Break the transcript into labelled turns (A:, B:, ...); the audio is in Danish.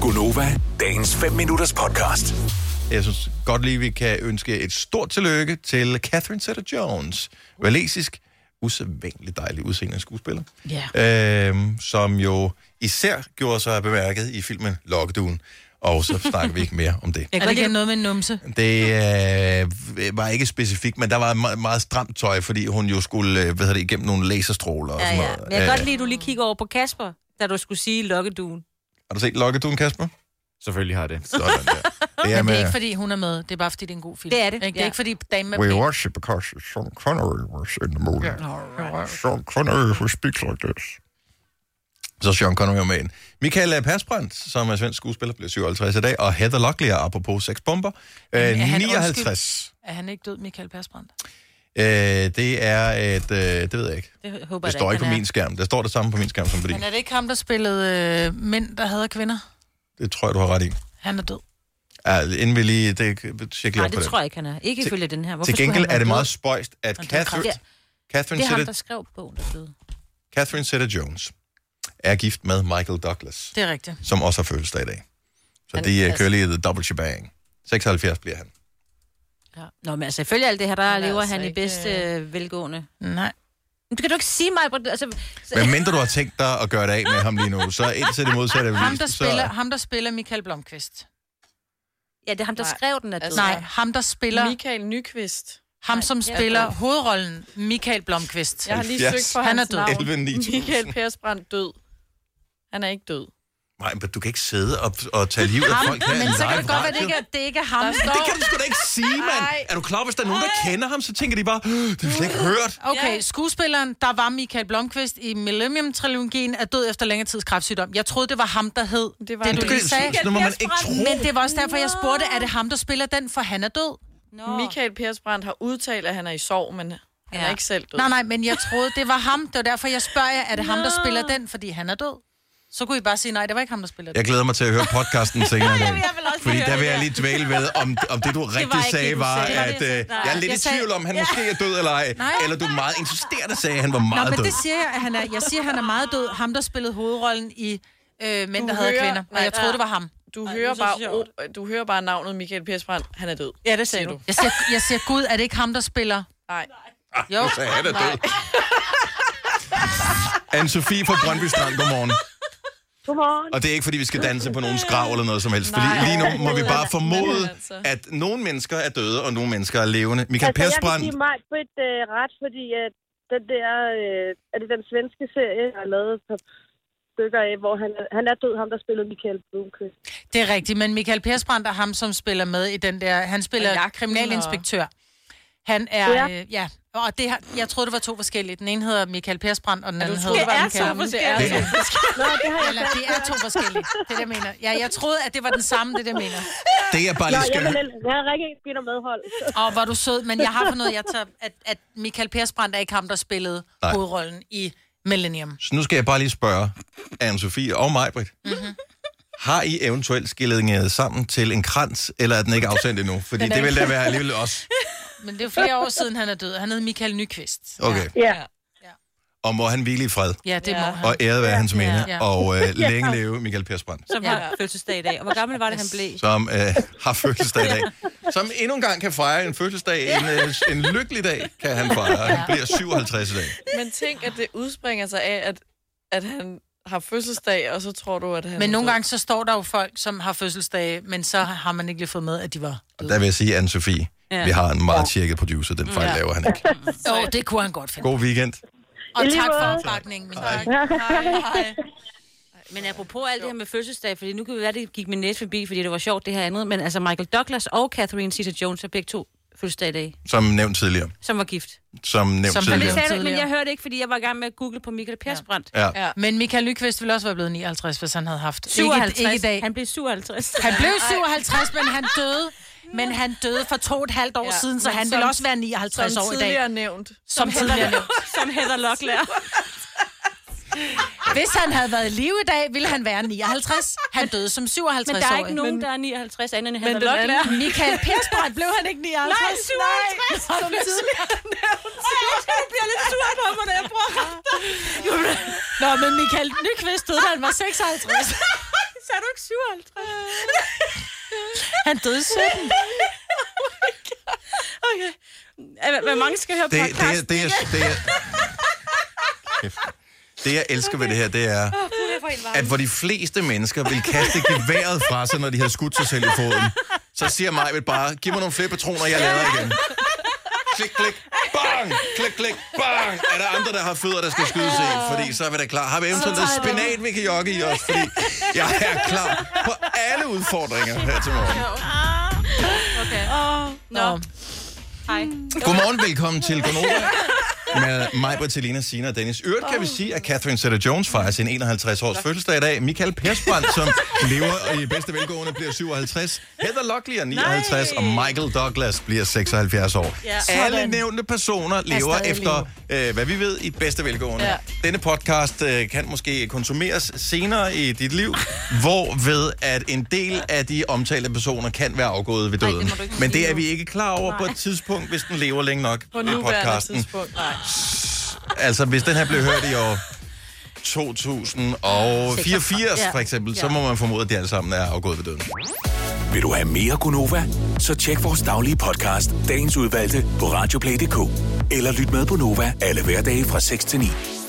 A: Gunova, dagens 5 minutters podcast.
B: Jeg synes godt lige, vi kan ønske et stort tillykke til Catherine Zeta-Jones. Valesisk, usædvanligt dejlig udseende skuespiller. Yeah. Øhm, som jo især gjorde sig bemærket i filmen Lokkeduen. Og så snakker vi ikke mere om det.
C: Jeg kan
D: Er det
C: godt lide
D: ikke-
C: noget med en numse.
B: Det øh, var ikke specifikt, men der var meget, meget stramt tøj, fordi hun jo skulle øh, hvad hedder det, igennem nogle laserstråler og
D: Ja,
B: sådan
D: ja.
B: noget.
D: Men jeg
B: Øh,
D: kan godt lide, at du lige kigger over på Kasper, da du skulle sige lokkeduen.
B: Har du set Lokkeduen, Kasper?
E: Selvfølgelig har jeg det.
B: Sådan der. Det er
C: Men det
B: med...
C: er ikke, fordi hun er med. Det er bare, fordi det er en god film.
D: Det er det,
C: Ikke? Det er
D: ja.
C: ikke, fordi damen er
F: We
C: pæn.
F: watched because Sean Connery was in the movie. Sean Connery who speaks like this.
B: Så Sean Connery var med ind. Michael øh, Persbrandt, som er svensk skuespiller, bliver 57 i dag, og Heather Locklear, apropos seks bomber, øh,
C: er han
B: 59.
C: Er han ikke død, Michael Persbrandt?
B: Øh, det er et... Øh, det ved jeg ikke.
D: Det håber
B: Det
D: jeg da
B: står ikke på
D: han
B: min skærm. Der står det samme på min skærm som på din.
C: Men er det ikke ham, der spillede øh, mænd, der havde kvinder?
B: Det tror jeg, du har ret i.
C: Han er død.
B: Ja, inden vi lige... Det, tjek
D: er.
B: lige op
D: Nej,
B: på
D: det
B: det.
D: tror jeg ikke, han er. Ikke ifølge den her. Hvorfor
B: Til
D: skulle
B: gengæld
D: han
B: er
D: være
B: det
D: død?
B: meget spøjst, at
C: er
B: Catherine,
D: kraftigt. Det
B: Catherine,
D: er ham, der
B: Zeta,
D: skrev bogen, der døde.
B: Catherine Zeta-Jones er gift med Michael Douglas,
C: Det er rigtigt.
B: som også har fødselsdag i dag. Så
D: Han-
B: de øh,
D: altså-
B: kører lige et double shebang. 76 bliver han.
D: Nå, men altså, ifølge alt det her, der
C: Han er
D: lever
C: altså
D: han i
C: ikke,
D: bedst øh, velgående.
C: Nej.
D: Men det kan du ikke sige mig, Britt. Altså, så-
B: Men mindre du har tænkt dig at gøre det af med ham lige nu, så indtil det modsatte er
C: Ham, der
B: bevist,
C: spiller,
B: så...
C: ham, der spiller Michael Blomqvist.
D: ja, det er ham, der
G: Nej,
D: skrev den, at
G: altså-
C: Nej, ham, der spiller...
G: Michael Nyqvist.
C: Ham, som
D: Nej,
C: spiller
D: jeg-
C: hovedrollen, Michael Blomqvist.
G: Jeg har lige
B: 70.
G: søgt for
C: Han
G: hans
C: er død.
G: navn.
B: 11 9000.
G: Michael Persbrandt død. Han er ikke død.
B: Nej, men du kan ikke sidde og, og tage livet af folk her
C: Men
B: i
C: så kan det
B: live
C: godt være, det
B: radio.
C: ikke er, det ikke er ham. Der
B: Det kan du sgu da ikke sige, mand.
G: Ej.
B: Er du klar, hvis der er nogen, der kender ham, så tænker de bare, "Øh, det har vi slet ikke hørt.
C: Okay, skuespilleren, der var Michael Blomqvist i Millennium-trilogien, er død efter længere tids kræftsygdom. Jeg troede, det var ham, der hed det,
G: Det var
C: det
G: han
C: du
G: ikke.
C: lige sagde.
B: Sådan må man ikke tro.
C: Men det var også derfor, jeg spurgte, er det ham, der spiller den, for han er død?
D: Nå.
G: Michael Persbrandt har udtalt, at han er i sorg, men han
D: Ja.
G: er ikke selv død.
C: Nej, nej, men jeg troede, det var ham. Det var derfor, jeg spørger jer, er det ham, der spiller den, fordi han er død? Så kunne I bare sige, nej, det var ikke ham, der spillede den.
B: Jeg glæder mig til at høre podcasten senere. i dag.
D: vil også
B: Fordi
D: høre
B: der vil
D: det
B: jeg lige dvæle ved, om, om det du rigtig
D: ikke
B: sagde
D: det, du
B: var,
D: sagde. Det var
B: at
D: det, jeg
B: øh,
D: sagde.
B: jeg er lidt
C: Jeg
B: i
C: sagde-
B: tvivl om, han måske er død eller ej.
C: Nej.
B: Eller du er meget insisterende sagde, at han var meget
C: Nå, men
B: død.
C: det siger jeg, at han er. Jeg siger, at han er meget død. Ham, der spillede hovedrollen i øh, Mænd,
G: Du
C: der havde
G: hører-
C: kvinder. Og jeg troede, det var ham.
G: Du,
D: Ej,
G: hører
D: det er så
G: bare, o- du hører bare navnet Michael Persbrandt. Han er død.
D: Ja, det sagde du.
C: Jeg siger, jeg siger Gud, er det ikke ham, der spiller?
G: Nej.
C: Jo.
B: Så han er død. Anne-Sophie fra Brøndby Strand, godmorgen.
H: Godmorgen.
B: Og det er ikke, fordi vi skal danse på nogen skrav eller noget som helst. Fordi
G: Nej,
B: lige nu må vi
G: overhovedet
B: bare
G: ikke.
B: formode,
G: Men altså.
B: at nogle mennesker er døde, og nogle mennesker er levende. Michael
H: altså, jeg vil
B: Persbrandt,
H: give mig Britt øh, ret, fordi at den der, øh, er det den svenske serie, jeg har lavet et par stykker af, hvor han, han er død, ham der spillede Michael Blomqvist.
C: Det er rigtigt, men Michael Persbrandt er ham, som spiller med i den der... Han spiller
G: Og jagten,
C: kriminalinspektør. Han er... Ja.
H: Ja.
C: Øh, ja. Og det har, jeg troede, det var to forskellige. Den ene hedder Michael Persbrandt, og den anden hedder...
G: troede, det
C: Michael-
G: var Michael.
D: Det
G: Det
D: er
G: er
B: det,
H: Nå, det har jeg
C: Eller, det er to forskellige. Det er det, jeg mener. Ja, jeg troede, at det var den samme, det der mener.
B: det er bare
H: Nå,
B: lige
H: jeg,
B: skal
H: vil, jeg har rigtig ikke spillet medhold.
C: Og hvor er du sød, men jeg har fundet ud af, jeg tager, at, at Michael Persbrandt er ikke ham, der spillede
B: Nej.
C: Nej. hovedrollen i Millennium.
B: Så nu skal jeg bare lige spørge Anne-Sophie og mig, Britt. Har I eventuelt skillet sammen til en krans, eller er den ikke afsendt endnu? Fordi
C: Den er
B: det vil
C: ikke-
B: da være alligevel også.
C: Men det er jo flere år siden, han er død. Han hed Michael Nyqvist.
B: Okay.
H: Ja.
B: Og må han hvile i fred,
C: Ja, det må han.
B: og æret være hans minde,
C: Ja.
B: og øh, længe leve Michael Persbrandt.
D: Som har fødselsdag i dag. Og hvor gammel var det, han blev?
B: som øh, har fødselsdag i dag. Som endnu en gang kan fejre en fødselsdag. En, øh, en lykkelig dag kan han fejre. Han bliver 57 i dag.
G: Men tænk, at det udspringer sig af, at, at han har fødselsdag, og så tror du, at han
C: Men
G: er
C: nogle
G: død.
C: gange, så står der jo folk, som har fødselsdage, men så har man ikke lige fået med, at de var
B: Og der vil jeg sige, Anne-Sophie,
D: Ja.
B: vi har en meget tjekket producer. Den fejl laver han ikke.
C: Jo, det kunne han godt finde.
B: God weekend.
C: Og
H: I lige
C: tak for
H: måde.
C: opbakningen.
B: Tak.
D: Men apropos alt det her med fødselsdag, fordi nu kan vi være, det gik min næse forbi, fordi det var sjovt det her andet, men altså Michael Douglas og Catherine Zeta-Jones er begge to fødselsdag i dag,
B: Som nævnt tidligere. som
D: som var gift.
B: Som nævnt
C: Som han
D: Det
B: tidligere.
D: sagde du, men
C: tidligere.
D: jeg hørte ikke, fordi jeg var i gang med at google på Michael Persbrandt.
B: Ja.
G: Ja.
C: Men Michael Nyqvist ville også være blevet 59, hvis han havde haft.
D: 57.
C: Ikke, ikke i dag.
D: Han blev 57.
C: Han blev 57, men han døde. Men han døde for to og et halvt år ja,
G: Ja,
C: siden, så
G: men
C: han
G: som-
C: ville også være 59
G: Som
C: år i dag.
G: tidligere nævnt.
C: Som tidligere. nævnt.
D: Som Heather Locklear.
C: Hvis han havde været i live i dag, ville han være 59. Han døde som 57
D: Men
C: år.
D: der er ikke nogen, der er 59 andet end Heather
G: den anden-
D: Locklear.
C: Michael Persbrandt blev han ikke 59?
D: Nej, 57!
C: Som tidligere.
D: Jeg bliver lidt sur på mig, når jeg bruger
C: Nå, men Michael Nyqvist døde, da han var 56.
D: Så er du ikke 57?
C: Han døde 17.
D: Okay. Hvor- Hvor mange skal høre
B: Det, det,
D: podcast?
B: det, det, er, det, er, det, jeg elsker ved det her, det er, at hvor de fleste mennesker vil kaste geværet fra sig, når de har skudt sig selv i foden, så siger mig bare, giv mig nogle flere patroner, jeg lader igen. Klik, klik, bang, klik, klik, bang. Er der andre, der har fødder, der skal skydes i? Fordi så er vi da klar. Har vi eventuelt noget spinat, vi kan jogge i os? Fordi jeg er klar på alle udfordringer her til morgen.
D: Nå.
B: Godmorgen, velkommen til Gonova med mig, Bertilina, Sina og Dennis. I Øvrigt kan vi sige, at Catherine Zeta-Jones fejrer sin 51-års fødselsdag i dag. Michael Persbrandt, som lever i bedste velgående, bliver 57. Heather Locklear er 59, og Michael Douglas bliver 76 år. Alle nævnte personer lever efter, øh, hvad vi ved, i bedste velgående.
G: Ja.
B: Denne podcast øh, kan måske konsumeres senere i dit liv, hvorved at en del af de omtalte personer kan være afgået ved døden.
D: må du ikke
B: Men det
D: sige
B: er vi ikke klar over på et tidspunkt, hvis den lever længe nok
G: På
B: ved
G: nuværende tidspunkt. Nej.
B: Altså, hvis den her blev hørt i år 2084, for eksempel, så må man formode, at de alle sammen er afgået ved døden.
A: Vil du have mere Gunova? Så tjek vores daglige podcast, dagens udvalgte, på radioplay.dk. Eller lyt med på Nova alle hverdage fra 6 til 9.